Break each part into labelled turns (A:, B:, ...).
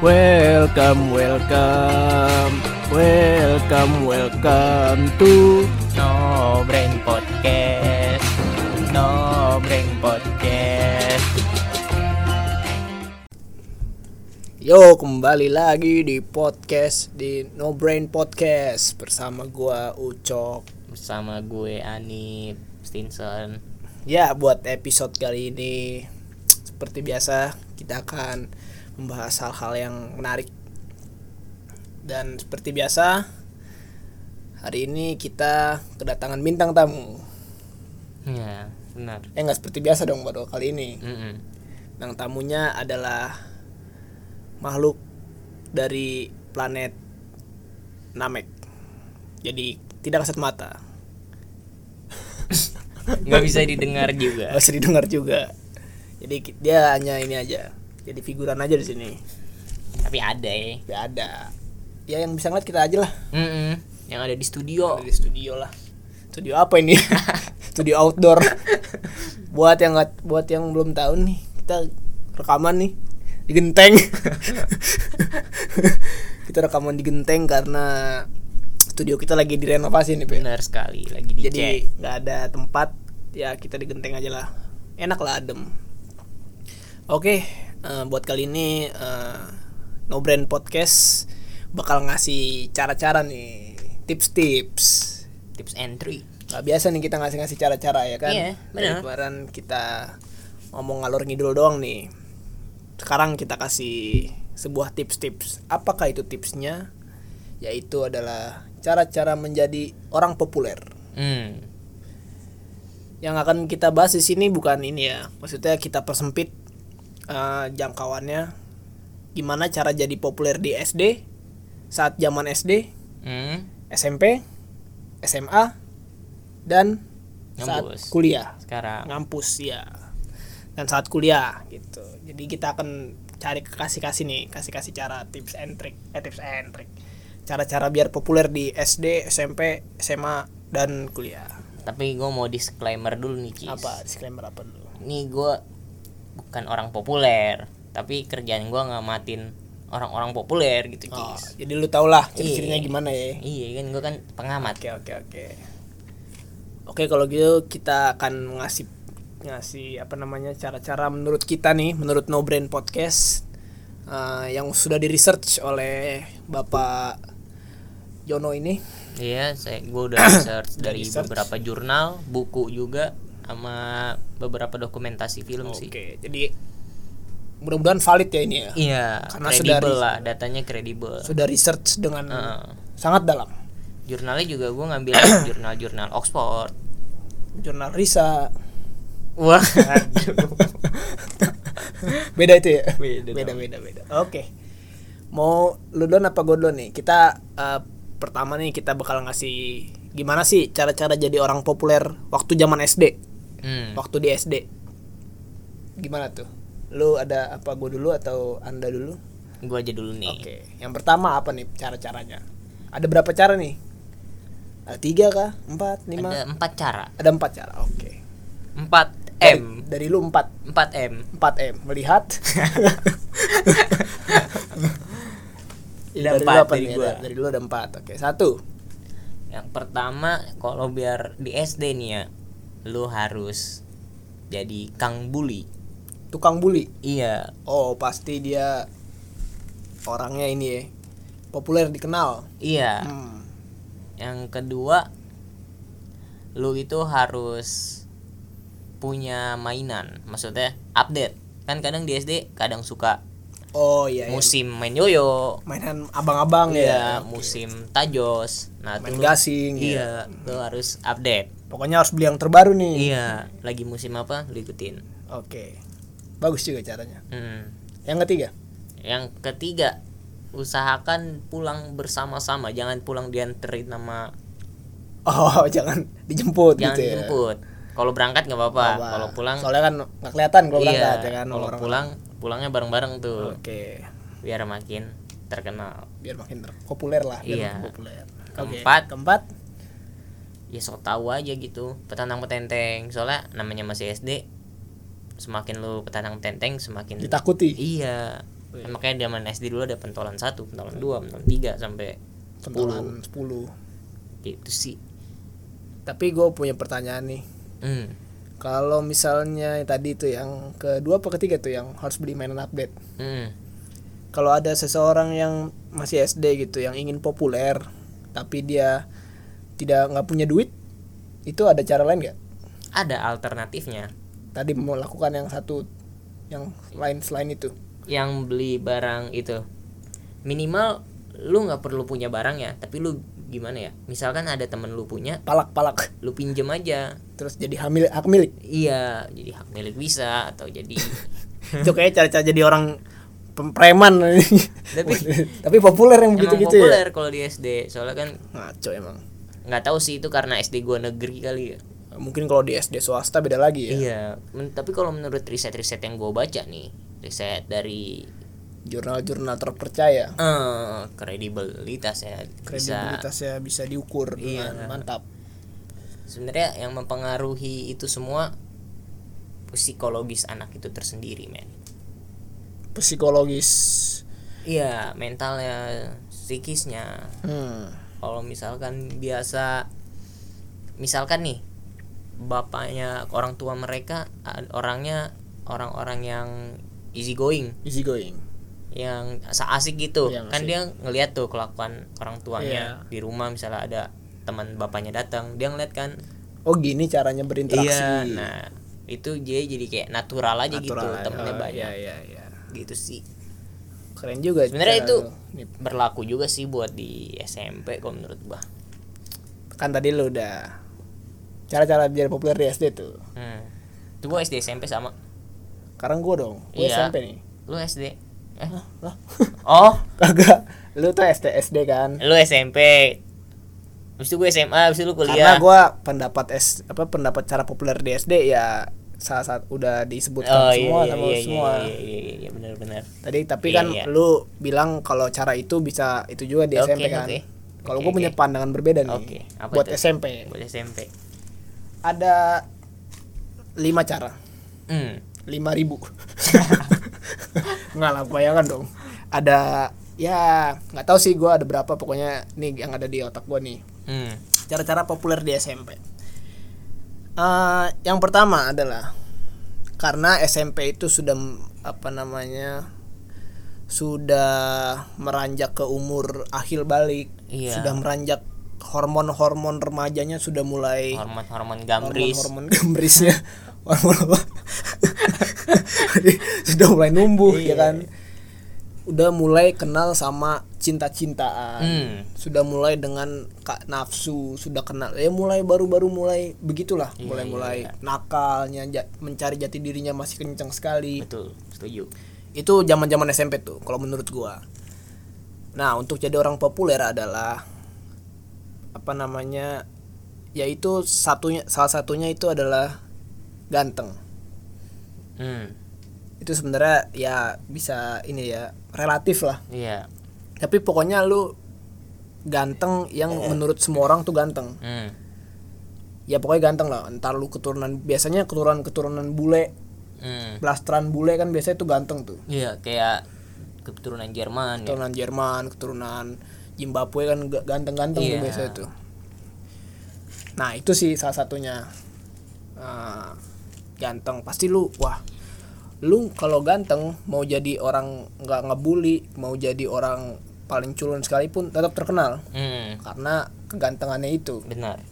A: Welcome, welcome, welcome, welcome to
B: No Brain Podcast. No Brain Podcast.
A: Yo, kembali lagi di podcast di No Brain Podcast bersama gua Ucok.
B: Bersama gue Ani Stinson.
A: Ya, buat episode kali ini seperti biasa kita akan membahas hal-hal yang menarik. Dan seperti biasa hari ini kita kedatangan bintang tamu.
B: Ya, benar.
A: Eh nggak seperti biasa dong baru kali ini.
B: Mm-mm.
A: Bintang tamunya adalah makhluk dari planet Namek. Jadi tidak kasat mata.
B: Nggak bisa didengar juga.
A: Harus didengar juga. Jadi ki- dia hanya ini aja. Jadi figuran aja di sini.
B: Tapi ada ya.
A: Gak ada. Ya yang bisa ngeliat kita aja lah.
B: Mm-mm. Yang ada di studio.
A: Ada Di studio lah. Studio apa ini? studio outdoor. buat yang nggak buat yang belum tahu nih, kita rekaman nih di genteng. kita rekaman di genteng karena studio kita lagi direnovasi nih, Pe.
B: Benar sekali. Lagi dicek.
A: Jadi nggak ada tempat, ya kita di genteng aja lah. Enak lah adem. Oke, eh, buat kali ini eh, No Brand Podcast bakal ngasih cara-cara nih, tips-tips.
B: tips entry.
A: Gak biasa nih kita ngasih-ngasih cara-cara ya kan?
B: Iya, benar.
A: Dari Kemarin kita ngomong ngalor ngidul doang nih. Sekarang kita kasih sebuah tips-tips. Apakah itu tipsnya? Yaitu adalah cara-cara menjadi orang populer.
B: Hmm.
A: Yang akan kita bahas di sini bukan ini ya. Maksudnya kita persempit eh, jangkauannya. Gimana cara jadi populer di SD? Saat zaman SD,
B: Hmm.
A: SMP, SMA, dan saat
B: Ngampus.
A: kuliah
B: Sekarang.
A: ngampus ya dan saat kuliah gitu jadi kita akan cari kasih kasih nih kasih kasih cara tips and trick eh tips and trick cara-cara biar populer di SD SMP SMA dan kuliah
B: Tapi gue mau disclaimer dulu nih, Cis.
A: apa disclaimer apa dulu
B: Ini gue bukan orang populer, tapi kerjaan gue ngamatin orang-orang populer gitu,
A: oh,
B: Cis.
A: jadi lu tau lah ciri-cirinya
B: Iya.
A: gimana ya
B: Iya kan gue kan pengamat.
A: oke oke oke oke kalau gitu kita akan ngasih ngasih apa namanya cara-cara menurut kita nih menurut No Brain Podcast eh, yang sudah di research oleh Bapak Jono ini
B: Iya, saya gue udah research
A: Udah
B: dari
A: research.
B: beberapa jurnal, buku juga, sama beberapa dokumentasi film sih.
A: Oke, jadi mudah-mudahan valid ya ini ya.
B: Iya,
A: Karena
B: kredibel
A: sudah
B: lah, datanya kredibel.
A: Sudah research dengan
B: Heeh.
A: sangat dalam.
B: jurnalnya juga gue ngambil jurnal-jurnal Oxford.
A: Jurnal Risa.
B: Wah,
A: beda itu ya.
B: Beda dong.
A: beda, beda, beda. Oke. Mau lu duluan apa gue duluan nih? Kita eh, pertama nih kita bakal ngasih gimana sih cara-cara jadi orang populer waktu zaman SD,
B: hmm.
A: waktu di SD. Gimana tuh? Lu ada apa gue dulu atau Anda dulu?
B: gue aja dulu nih.
A: Oke, yang pertama apa nih cara-caranya? Ada berapa cara nih? Ada tiga kah? Empat, lima? Ada,
B: Ada empat cara,
A: empat cara, oke.
B: empat
A: Dari-
B: M,
A: Dari, lu empat,
B: empat M.
A: empat M. Melihat.
B: Ada
A: dari
B: empat
A: lu apa
B: dari
A: nih?
B: gua.
A: Ada- Dari lu ada empat, oke. Satu,
B: Yang pertama, kalau biar di SD nih ya, lu harus jadi kang bully.
A: tukang bully.
B: Iya,
A: Oh, pasti dia orangnya ini ya. Populer dikenal.
B: iya.
A: Hmm.
B: Yang kedua, lu itu harus punya mainan, maksudnya update. Kan kadang di SD kadang suka
A: Oh iya. iya.
B: musim main yoyo,
A: Mainan abang-abang ya.
B: iya, musim tajos. Nah,
A: Main
B: tuh lu-
A: gasing. ya.
B: Iya, lu harus update.
A: Pokoknya harus beli yang terbaru nih.
B: Iya, lagi musim apa lu ikutin.
A: Oke. Bagus juga caranya.
B: Hmm.
A: Yang ketiga,
B: Yang ketiga, usahakan pulang bersama-sama, jangan pulang dianterin sama
A: oh jangan dijemput
B: jangan
A: gitu ya.
B: jemput. Kalau berangkat nggak apa-apa,
A: Wah,
B: kalau pulang
A: soalnya kan nggak kelihatan kalau
B: iya,
A: berangkat ya kan
B: kalau
A: orang- Oh.
B: pulang pulangnya bareng-bareng tuh
A: Oke,
B: biar makin terkenal.
A: biar makin ter- populer lah, biar
B: Iya.
A: makin populer. Oke,
B: Keempat,
A: keempat,
B: ya sok tahu aja gitu, petantang petenteng. Soalnya namanya masih SD, semakin lu petantang petenteng semakin
A: ditakuti.
B: Iya,
A: Wih.
B: makanya zaman SD dulu ada pentolan satu pentolan dua pentolan tiga sampai sepuluh
A: pentolan 10
B: gitu sih
A: tapi gue punya pertanyaan nih
B: hmm.
A: kalau misalnya tadi itu yang kedua apa ketiga tuh yang harus beli mainan update
B: Hmm.
A: kalau ada seseorang yang masih SD gitu yang ingin populer tapi dia tidak nggak punya duit itu ada cara lain nggak
B: ada alternatifnya
A: tadi mau lakukan yang satu yang lain selain itu
B: yang beli barang itu minimal lu nggak perlu punya barangnya tapi lu gimana ya misalkan ada temen lu punya
A: palak palak
B: lu pinjem aja
A: terus jadi hamil hak milik
B: iya jadi hak milik bisa atau jadi
A: itu kayak cara cara jadi orang pem- preman
B: Tapi-
A: tapi populer yang
B: emang
A: begitu gitu ya
B: populer kalau di SD soalnya kan
A: ngaco emang
B: nggak tahu sih itu karena SD gua negeri kali ya
A: mungkin kalau di SD swasta beda lagi ya
B: iya men- tapi kalau menurut riset-riset yang gua baca nih riset dari
A: jurnal-jurnal terpercaya
B: eh kredibilitas ya bisa
A: kredibilitasnya bisa diukur
B: Iya.
A: dengan mantap
B: sebenarnya yang mempengaruhi itu semua psikologis anak itu tersendiri men
A: psikologis
B: iya mentalnya psikisnya
A: hmm.
B: kalau misalkan biasa misalkan nih bapaknya orang tua mereka ad- orangnya orang-orang yang easy going
A: easy going
B: yang sa- asik gitu
A: Yang
B: kan
A: asik.
B: dia ngelihat tuh kelakuan orang tuanya
A: Iya.
B: di rumah misalnya ada teman bapaknya datang dia ngeliat kan
A: oh gini caranya berinteraksi
B: nah itu dia jadi kayak natural aja
A: Natural
B: gitu
A: ya.
B: temennya
A: Oh,
B: banyak
A: iya, iya, iya. Iya.
B: gitu sih
A: keren juga
B: Sebenarnya
A: cara
B: itu-
A: lu. Nih,
B: berlaku juga sih buat di SMP kalau menurut gua
A: kan tadi lu udah cara-cara biar populer di SD tuh
B: hmm. itu gua SD SMP sama
A: sekarang gua dong gua
B: Iya.
A: SMP nih
B: lu SD eh?
A: lah
B: oh
A: kagak lu tuh SD SD kan
B: lu SMP habis itu gue SMA habis itu lu
A: karena
B: kuliah
A: gua pendapat S apa pendapat cara populer di SD ya saat saat udah disebutkan
B: oh
A: semua
B: iya iya
A: sama
B: iya,
A: semua
B: iya iya iya iya benar benar
A: tadi tapi
B: Iya,
A: kan
B: iya.
A: lu bilang kalau cara itu bisa itu juga di
B: Oke,
A: SMP kan
B: oke.
A: kalau
B: Oke,
A: gua
B: oke.
A: punya pandangan berbeda nih
B: Oke, apa
A: buat
B: itu?
A: SMP
B: buat SMP
A: ada lima cara
B: hmm.
A: lima ribu nggak lah bayangan dong ada ya nggak tahu sih gua ada berapa pokoknya nih yang ada di otak gua nih
B: Hmm.
A: cara-cara populer di SMP Eh, yang pertama adalah karena SMP itu sudah m- apa namanya sudah meranjak ke umur akhir balik
B: Iya.
A: sudah meranjak hormon-hormon remajanya sudah mulai
B: hormon hormon gambris
A: hormon gambrisnya hormon apa sudah mulai numbuh ya kan udah mulai kenal sama cinta-cintaan
B: hmm.
A: sudah mulai dengan ka- nafsu sudah kenal ya mulai baru-baru mulai begitulah
B: Iya,
A: mulai-mulai
B: iya,
A: nakalnya ja- mencari jati dirinya masih kencang sekali
B: betul setuju
A: itu zaman-zaman SMP tuh kalau menurut gua nah untuk jadi orang populer adalah apa namanya yaitu satunya salah satunya itu adalah ganteng
B: hmm.
A: itu sebenarnya ya bisa ini ya relatif lah
B: iya
A: tapi pokoknya lu ganteng yang
B: Eh,
A: menurut semua orang tuh ganteng
B: hmm.
A: ya pokoknya ganteng lah entar lu keturunan biasanya keturunan keturunan bule
B: Hmm.
A: blasteran bule kan biasanya tuh ganteng tuh
B: Iya, kayak keturunan Jerman ya.
A: keturunan Jerman, keturunan Zimbabwe kan ga- ganteng-ganteng tuh
B: Iya.
A: biasanya tuh. Nah itu sih salah satunya Eh, ganteng. Pasti lu wah lu kalau ganteng mau jadi orang nggak ngebully, mau jadi orang paling culun sekalipun tetap terkenal
B: Hmm,
A: karena kegantengannya itu
B: benar.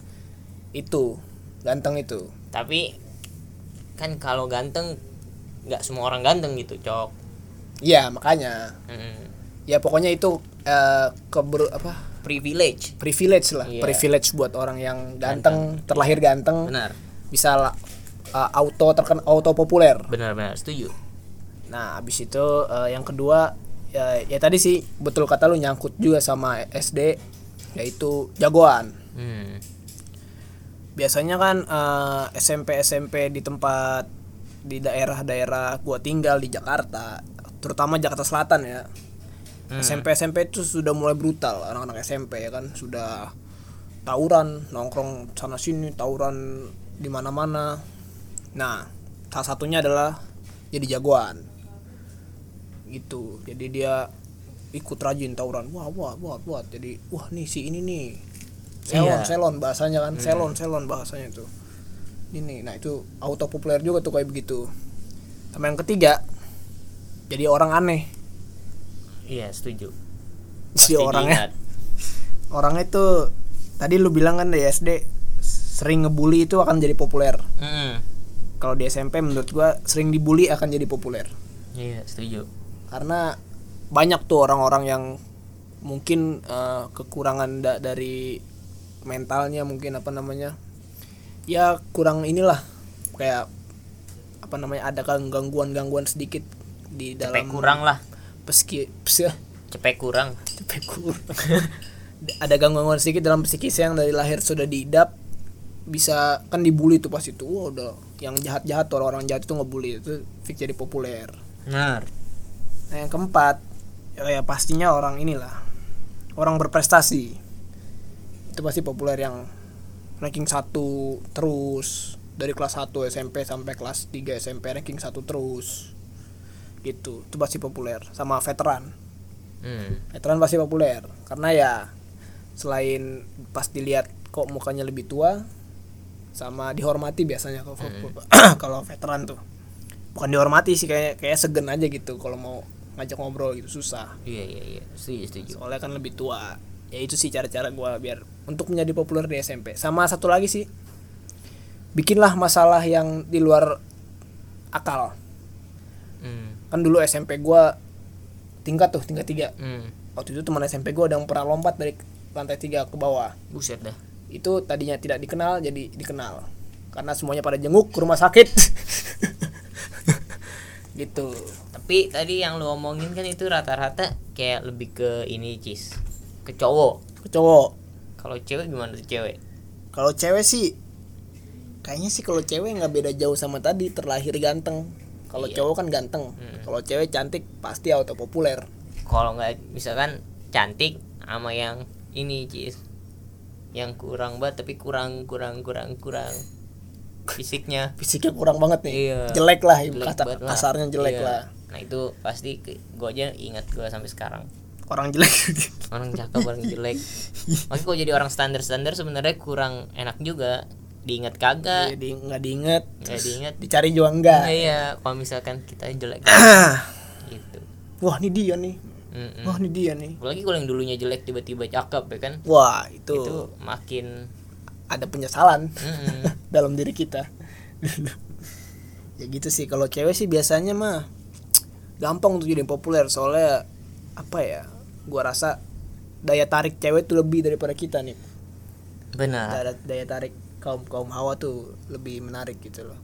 A: itu ganteng itu
B: Tapi kan kalau ganteng nggak semua orang ganteng gitu, Cok.
A: ya makanya
B: Hmm.
A: ya pokoknya itu eh keber apa
B: Privilege.
A: privilege lah
B: Iya.
A: privilege buat orang yang ganteng, terlahir ganteng
B: Benar.
A: bisa la- uh, auto terken auto populer.
B: Benar benar, setuju.
A: Nah, abis itu uh, yang kedua ya, ya tadi sih betul kata lu nyangkut juga sama SD yaitu jagoan.
B: Hmm.
A: Biasanya kan uh, SMP SMP di tempat di daerah-daerah gua tinggal di Jakarta, terutama Jakarta Selatan ya. SMP SMP itu sudah mulai brutal anak-anak SMP ya kan sudah tawuran nongkrong sana sini tawuran di mana-mana. Nah salah satunya adalah jadi jagoan. gitu jadi dia ikut rajin tawuran wah wah wah wah jadi wah nih si ini nih selon
B: Iya.
A: selon bahasanya kan selon selon bahasanya itu ini nah itu auto populer juga tuh kayak begitu sama yang ketiga jadi orang aneh
B: Iya, setuju.
A: si orangnya
B: diingat.
A: orangnya itu tadi lu bilang kan dari SD sering ngebully itu akan jadi populer
B: Mm-mm.
A: kalau di SMP menurut gua sering dibully akan jadi populer
B: Iya, setuju.
A: karena banyak tuh orang-orang yang mungkin eh, kekurangan da- dari mentalnya mungkin apa namanya ya kurang inilah kayak apa namanya ada kan gangguan-gangguan sedikit di
B: Cepet
A: dalam
B: kurang lah.
A: peski psi-
B: Cepet kurang.
A: Cepet kurang. ada gangguan sedikit dalam psikis yang dari lahir sudah diidap bisa kan dibully tuh pas itu wah udah yang jahat-jahat tuh, orang-orang jahat itu ngebully itu fix jadi populer
B: Benar.
A: Nah, yang keempat, ya, ya pastinya orang inilah. Orang berprestasi. Itu pasti populer yang ranking 1 terus dari kelas 1 SMP sampai kelas 3 SMP ranking 1 terus. Gitu. Itu pasti populer sama veteran.
B: Hmm.
A: Veteran pasti populer karena ya selain pas dilihat kok mukanya lebih tua sama dihormati biasanya kalau kalau veteran tuh. Bukan dihormati sih kayak kayak segen aja gitu kalau mau ngajak ngobrol gitu susah.
B: Iya, iya, iya. Setuju, setuju.
A: Soalnya kan lebih tua. Ya itu sih cara-cara gua biar untuk menjadi populer di SMP. Sama satu lagi sih bikinlah masalah yang di luar akal.
B: Hmm.
A: Kan dulu SMP gua tingkat tuh tingkat tiga
B: Hmm.
A: waktu itu teman SMP gue ada yang pernah lompat dari lantai tiga ke bawah
B: Buset dah.
A: itu tadinya tidak dikenal jadi dikenal karena semuanya pada jenguk ke rumah sakit gitu
B: Tapi tadi yang lu omongin kan itu rata-rata kayak lebih ke ini, Cis. Ke cowok.
A: Ke cowok
B: Kalau cewek gimana tuh cewek?
A: kalau cewek sih kayaknya sih kalau cewek nggak beda jauh sama tadi terlahir ganteng kalau
B: Iya.
A: cowok kan ganteng kalau cewek cantik pasti auto populer
B: Kalau nggak misalkan cantik sama yang ini, Cis. Yang kurang banget tapi kurang kurang kurang kurang fisiknya.
A: fisiknya kurang banget nih
B: Iya.
A: jelek lah
B: Jelek
A: kata
B: banget lah.
A: kasarnya jelek
B: Iya.
A: lah
B: Nah, itu pasti gue aja ingat gue sampai sekarang.
A: orang jelek
B: orang cakep orang jelek makanya kalau jadi orang standar standar sebenarnya kurang enak juga diingat kagak
A: jadi nggak diinget
B: nggak diingat
A: dicari juga Ah. enggak
B: Nah, iya kalau misalkan kita jelek gitu
A: wah ini dia nih
B: Mm-mm.
A: wah ini dia nih
B: apalagi kalau yang dulunya jelek tiba-tiba cakep ya kan
A: wah itu,
B: itu makin
A: ada penyesalan
B: Mm-mm.
A: dalam diri kita ya gitu sih kalau cewek sih biasanya mah gampang untuk jadi populer soalnya apa ya gua rasa daya tarik cewek tuh lebih daripada kita nih
B: benar
A: daya, daya tarik kaum kaum hawa tuh lebih menarik gitu loh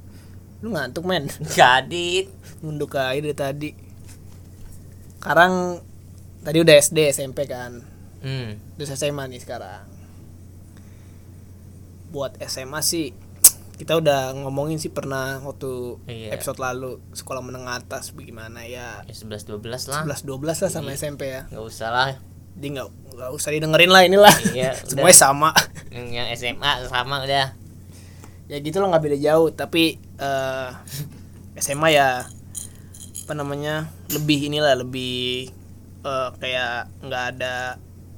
A: lu ngantuk men
B: jadi
A: nunduk aja dari tadi sekarang tadi udah SD SMP kan
B: hmm.
A: Terus SMA nih sekarang. Buat SMA sih kita udah ngomongin sih pernah waktu
B: Iya.
A: episode lalu sekolah menengah atas bagaimana ya
B: ya 11 12 lah
A: 11 12 lah sama
B: Iya.
A: SMP ya.
B: nggak usah lah
A: Jadi nggak nggak usah didengerin lah inilah.
B: Iya,
A: Semuanya sama.
B: yang yang SMA sama udah
A: ya gitu lah nggak beda jauh tapi eh, SMA ya apa namanya lebih inilah lebih eh, kayak nggak ada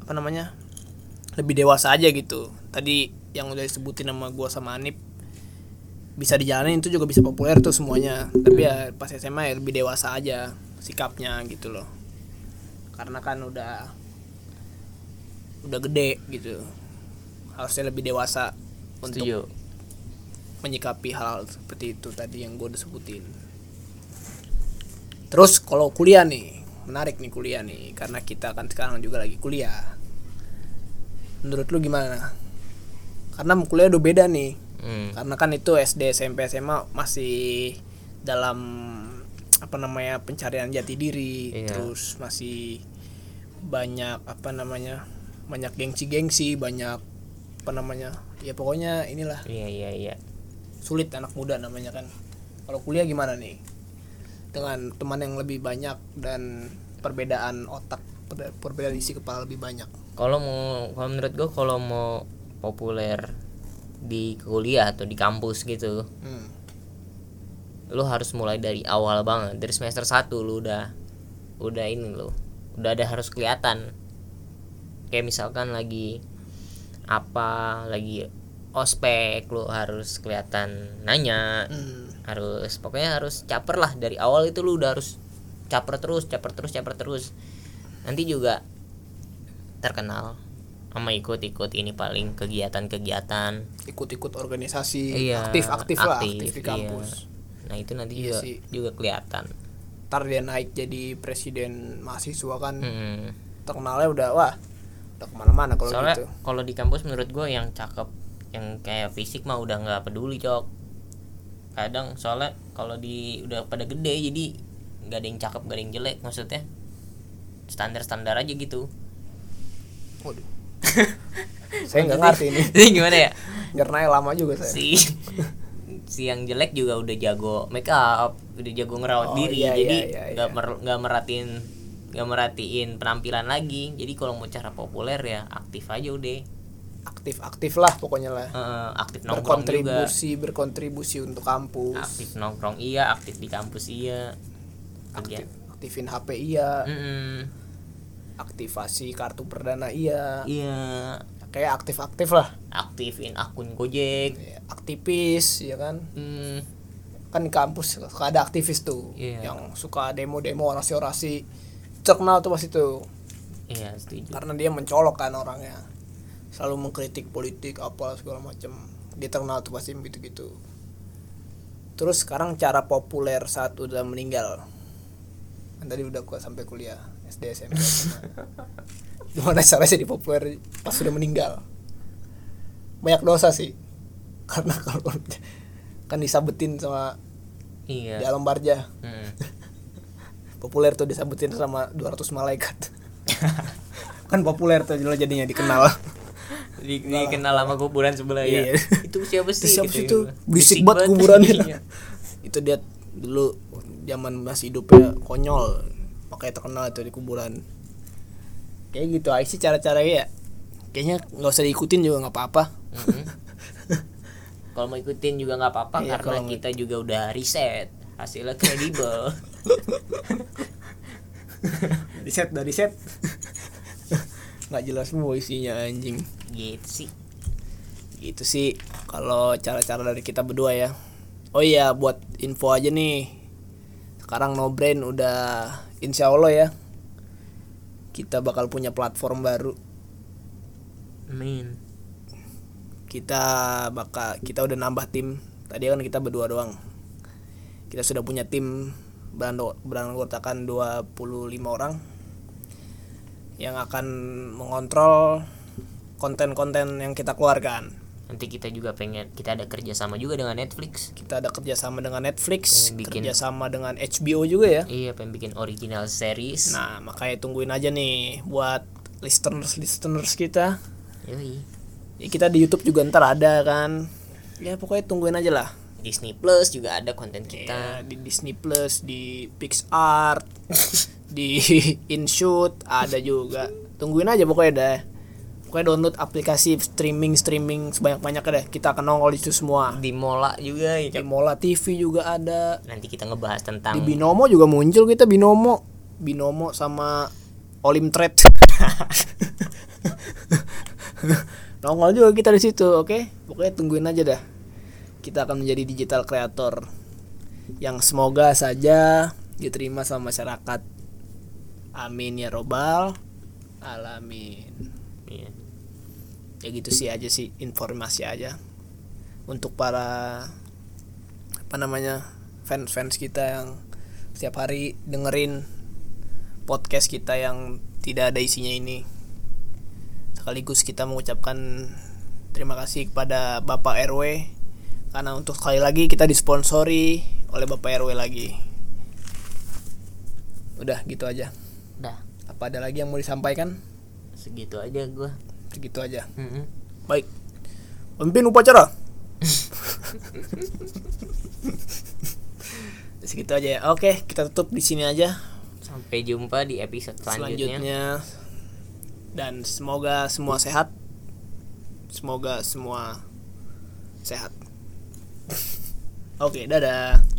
A: apa namanya lebih dewasa aja gitu tadi yang udah disebutin sama gua sama Anip bisa dijalanin itu juga bisa populer tuh semuanya tapi ya pas SMA ya lebih dewasa aja sikapnya gitu loh karena kan udah udah gede gitu harusnya lebih dewasa untuk
B: setuju
A: menyikapi hal, seperti itu tadi yang gue udah sebutin. Terus kalau kuliah nih, menarik nih kuliah nih karena kita kan sekarang juga lagi kuliah. Menurut lu gimana? Karena kuliah udah beda nih.
B: Hmm.
A: Karena kan itu SD, SMP, SMA masih dalam apa namanya pencarian jati diri,
B: Iya.
A: terus masih banyak apa namanya banyak gengsi-gengsi, banyak apa namanya ya pokoknya inilah
B: iya iya iya
A: sulit anak muda namanya kan kalau kuliah gimana nih dengan teman yang lebih banyak dan perbedaan otak per- perbedaan isi kepala lebih banyak
B: kalau mau kalau menurut gue kalau mau populer di kuliah atau di kampus gitu
A: hmm.
B: lu harus mulai dari awal banget dari semester 1 lu udah udah ini loh udah ada harus kelihatan kayak misalkan lagi apa lagi ospek lo harus kelihatan nanya
A: Hmm.
B: harus pokoknya harus caper lah dari awal itu lu udah harus caper terus caper terus caper terus nanti juga terkenal sama ikut-ikut ini paling kegiatan-kegiatan
A: ikut-ikut organisasi
B: Iya,
A: aktif-aktif lah aktif di
B: aktif,
A: kampus
B: iya. nah itu nanti
A: Iya
B: juga
A: sih.
B: juga kelihatan
A: ntar dia naik jadi presiden mahasiswa kan
B: Mm.
A: terkenalnya udah wah udah kemana-mana kalau
B: soalnya
A: gitu
B: kalau di kampus menurut gue yang cakep yang kayak fisik mah udah nggak peduli cok kadang soalnya kalau di udah pada gede jadi nggak ada yang cakep nggak ada yang jelek maksudnya standar standar aja gitu
A: waduh saya nggak ngerti ini
B: Jadi gimana ya
A: nyernanya lama juga saya
B: si si yang jelek juga udah jago make up udah jago
A: Oh,
B: ngerawat diri
A: iya,
B: jadi
A: iya, iya,
B: nggak
A: iya.
B: mer- nggak merhatiin nggak merhatiin penampilan lagi jadi kalau mau cara populer ya aktif aja udah
A: aktif-aktif lah pokoknya lah
B: Eh, aktif nongkrong juga
A: berkontribusi berkontribusi untuk kampus
B: aktif nongkrong iya aktif di kampus iya
A: aktif
B: kerja
A: aktifin HP iya
B: Hmm. Mm-mm.
A: aktivasi kartu perdana iya
B: iya
A: kayak aktif-aktif lah
B: aktifin akun gojek
A: Ya, aktivis ya kan
B: Hmm,
A: kan di kampus suka ada aktivis tuh
B: Iya.
A: yang suka demo-demo orasi-orasi terkenal tuh pas itu
B: iya setuju
A: karena dia mencolok kan orangnya selalu mengkritik politik apa segala macam dia terkenal tuh pasti begitu gitu terus sekarang cara populer saat udah meninggal kan tadi udah gua sampai kuliah SD SMP SMA. gimana caranya jadi populer pas sudah meninggal banyak dosa sih karena kalau kan disabetin sama di
B: iya
A: alam barja
B: Mm.
A: populer tuh disabutin sama 200 malaikat kan populer tuh lo jadinya dikenal
B: Di, dikenal sama kuburan sebelah
A: Iya.
B: ya. Itu siapa sih?
A: Terus siapa
B: Gitu
A: sih tuh
B: ya.
A: berisik banget kuburannya
B: Iya.
A: itu dia dulu zaman masih hidupnya konyol pakai terkenal itu di kuburan kayak gitu aja sih cara-caranya ya kayaknya nggak usah diikutin juga nggak apa-apa
B: Mm-mm. Kalau mau ikutin juga nggak apa-apa
A: Iya,
B: karena
A: kalau mau-
B: kita juga udah riset hasilnya kredibel.
A: riset dari set nggak jelas semua isinya anjing
B: gitu sih.
A: gitu sih kalau cara-cara dari kita berdua ya oh iya buat info aja nih sekarang no brain udah insya allah ya kita bakal punya platform baru
B: Amin.
A: kita bakal kita udah nambah tim tadi kan kita berdua doang kita sudah punya tim beranggo- beranggotakan 25 orang yang akan mengontrol konten-konten yang kita keluarkan
B: Nanti kita juga pengen kita ada kerja sama juga dengan Netflix.
A: kita ada kerjasama dengan Netflix,
B: Pengen bikin-
A: kerjasama dengan HBO juga ya.
B: Iya, pengen bikin original series.
A: Nah, makanya tungguin aja nih buat listeners listeners kita.
B: Yoi.
A: Ya, kita di YouTube juga ntar ada kan. Ya pokoknya tungguin aja lah.
B: Disney Plus juga ada konten
A: Ya,
B: kita.
A: di Disney Plus, di PixArt, di InShoot ada juga. Tungguin aja pokoknya deh. Pokoknya download aplikasi streaming streaming sebanyak banyaknya deh. Kita akan nongol di situ semua.
B: Di Mola juga ya.
A: Di
B: Cok.
A: Mola TV juga ada.
B: Nanti kita ngebahas tentang
A: Di Binomo juga muncul kita Binomo. Binomo sama Olim Trade. Nongol juga kita di situ, oke? Pokoknya tungguin aja dah. Kita akan menjadi digital creator yang semoga saja diterima sama masyarakat. Amin ya robbal alamin.
B: Iya.
A: Ya gitu sih aja sih informasi aja untuk para apa namanya fans-fans kita yang setiap hari dengerin podcast kita yang tidak ada isinya ini sekaligus kita mengucapkan terima kasih kepada Bapak RW karena untuk sekali lagi kita disponsori oleh Bapak RW lagi udah gitu aja
B: Dah,
A: apa ada lagi yang mau disampaikan
B: segitu aja gua.
A: segitu aja
B: Mm-mm.
A: baik pemimpin upacara segitu aja ya oke kita tutup di sini aja
B: Sampai jumpa di episode selanjutnya.
A: selanjutnya dan semoga semua sehat semoga semua sehat oke dadah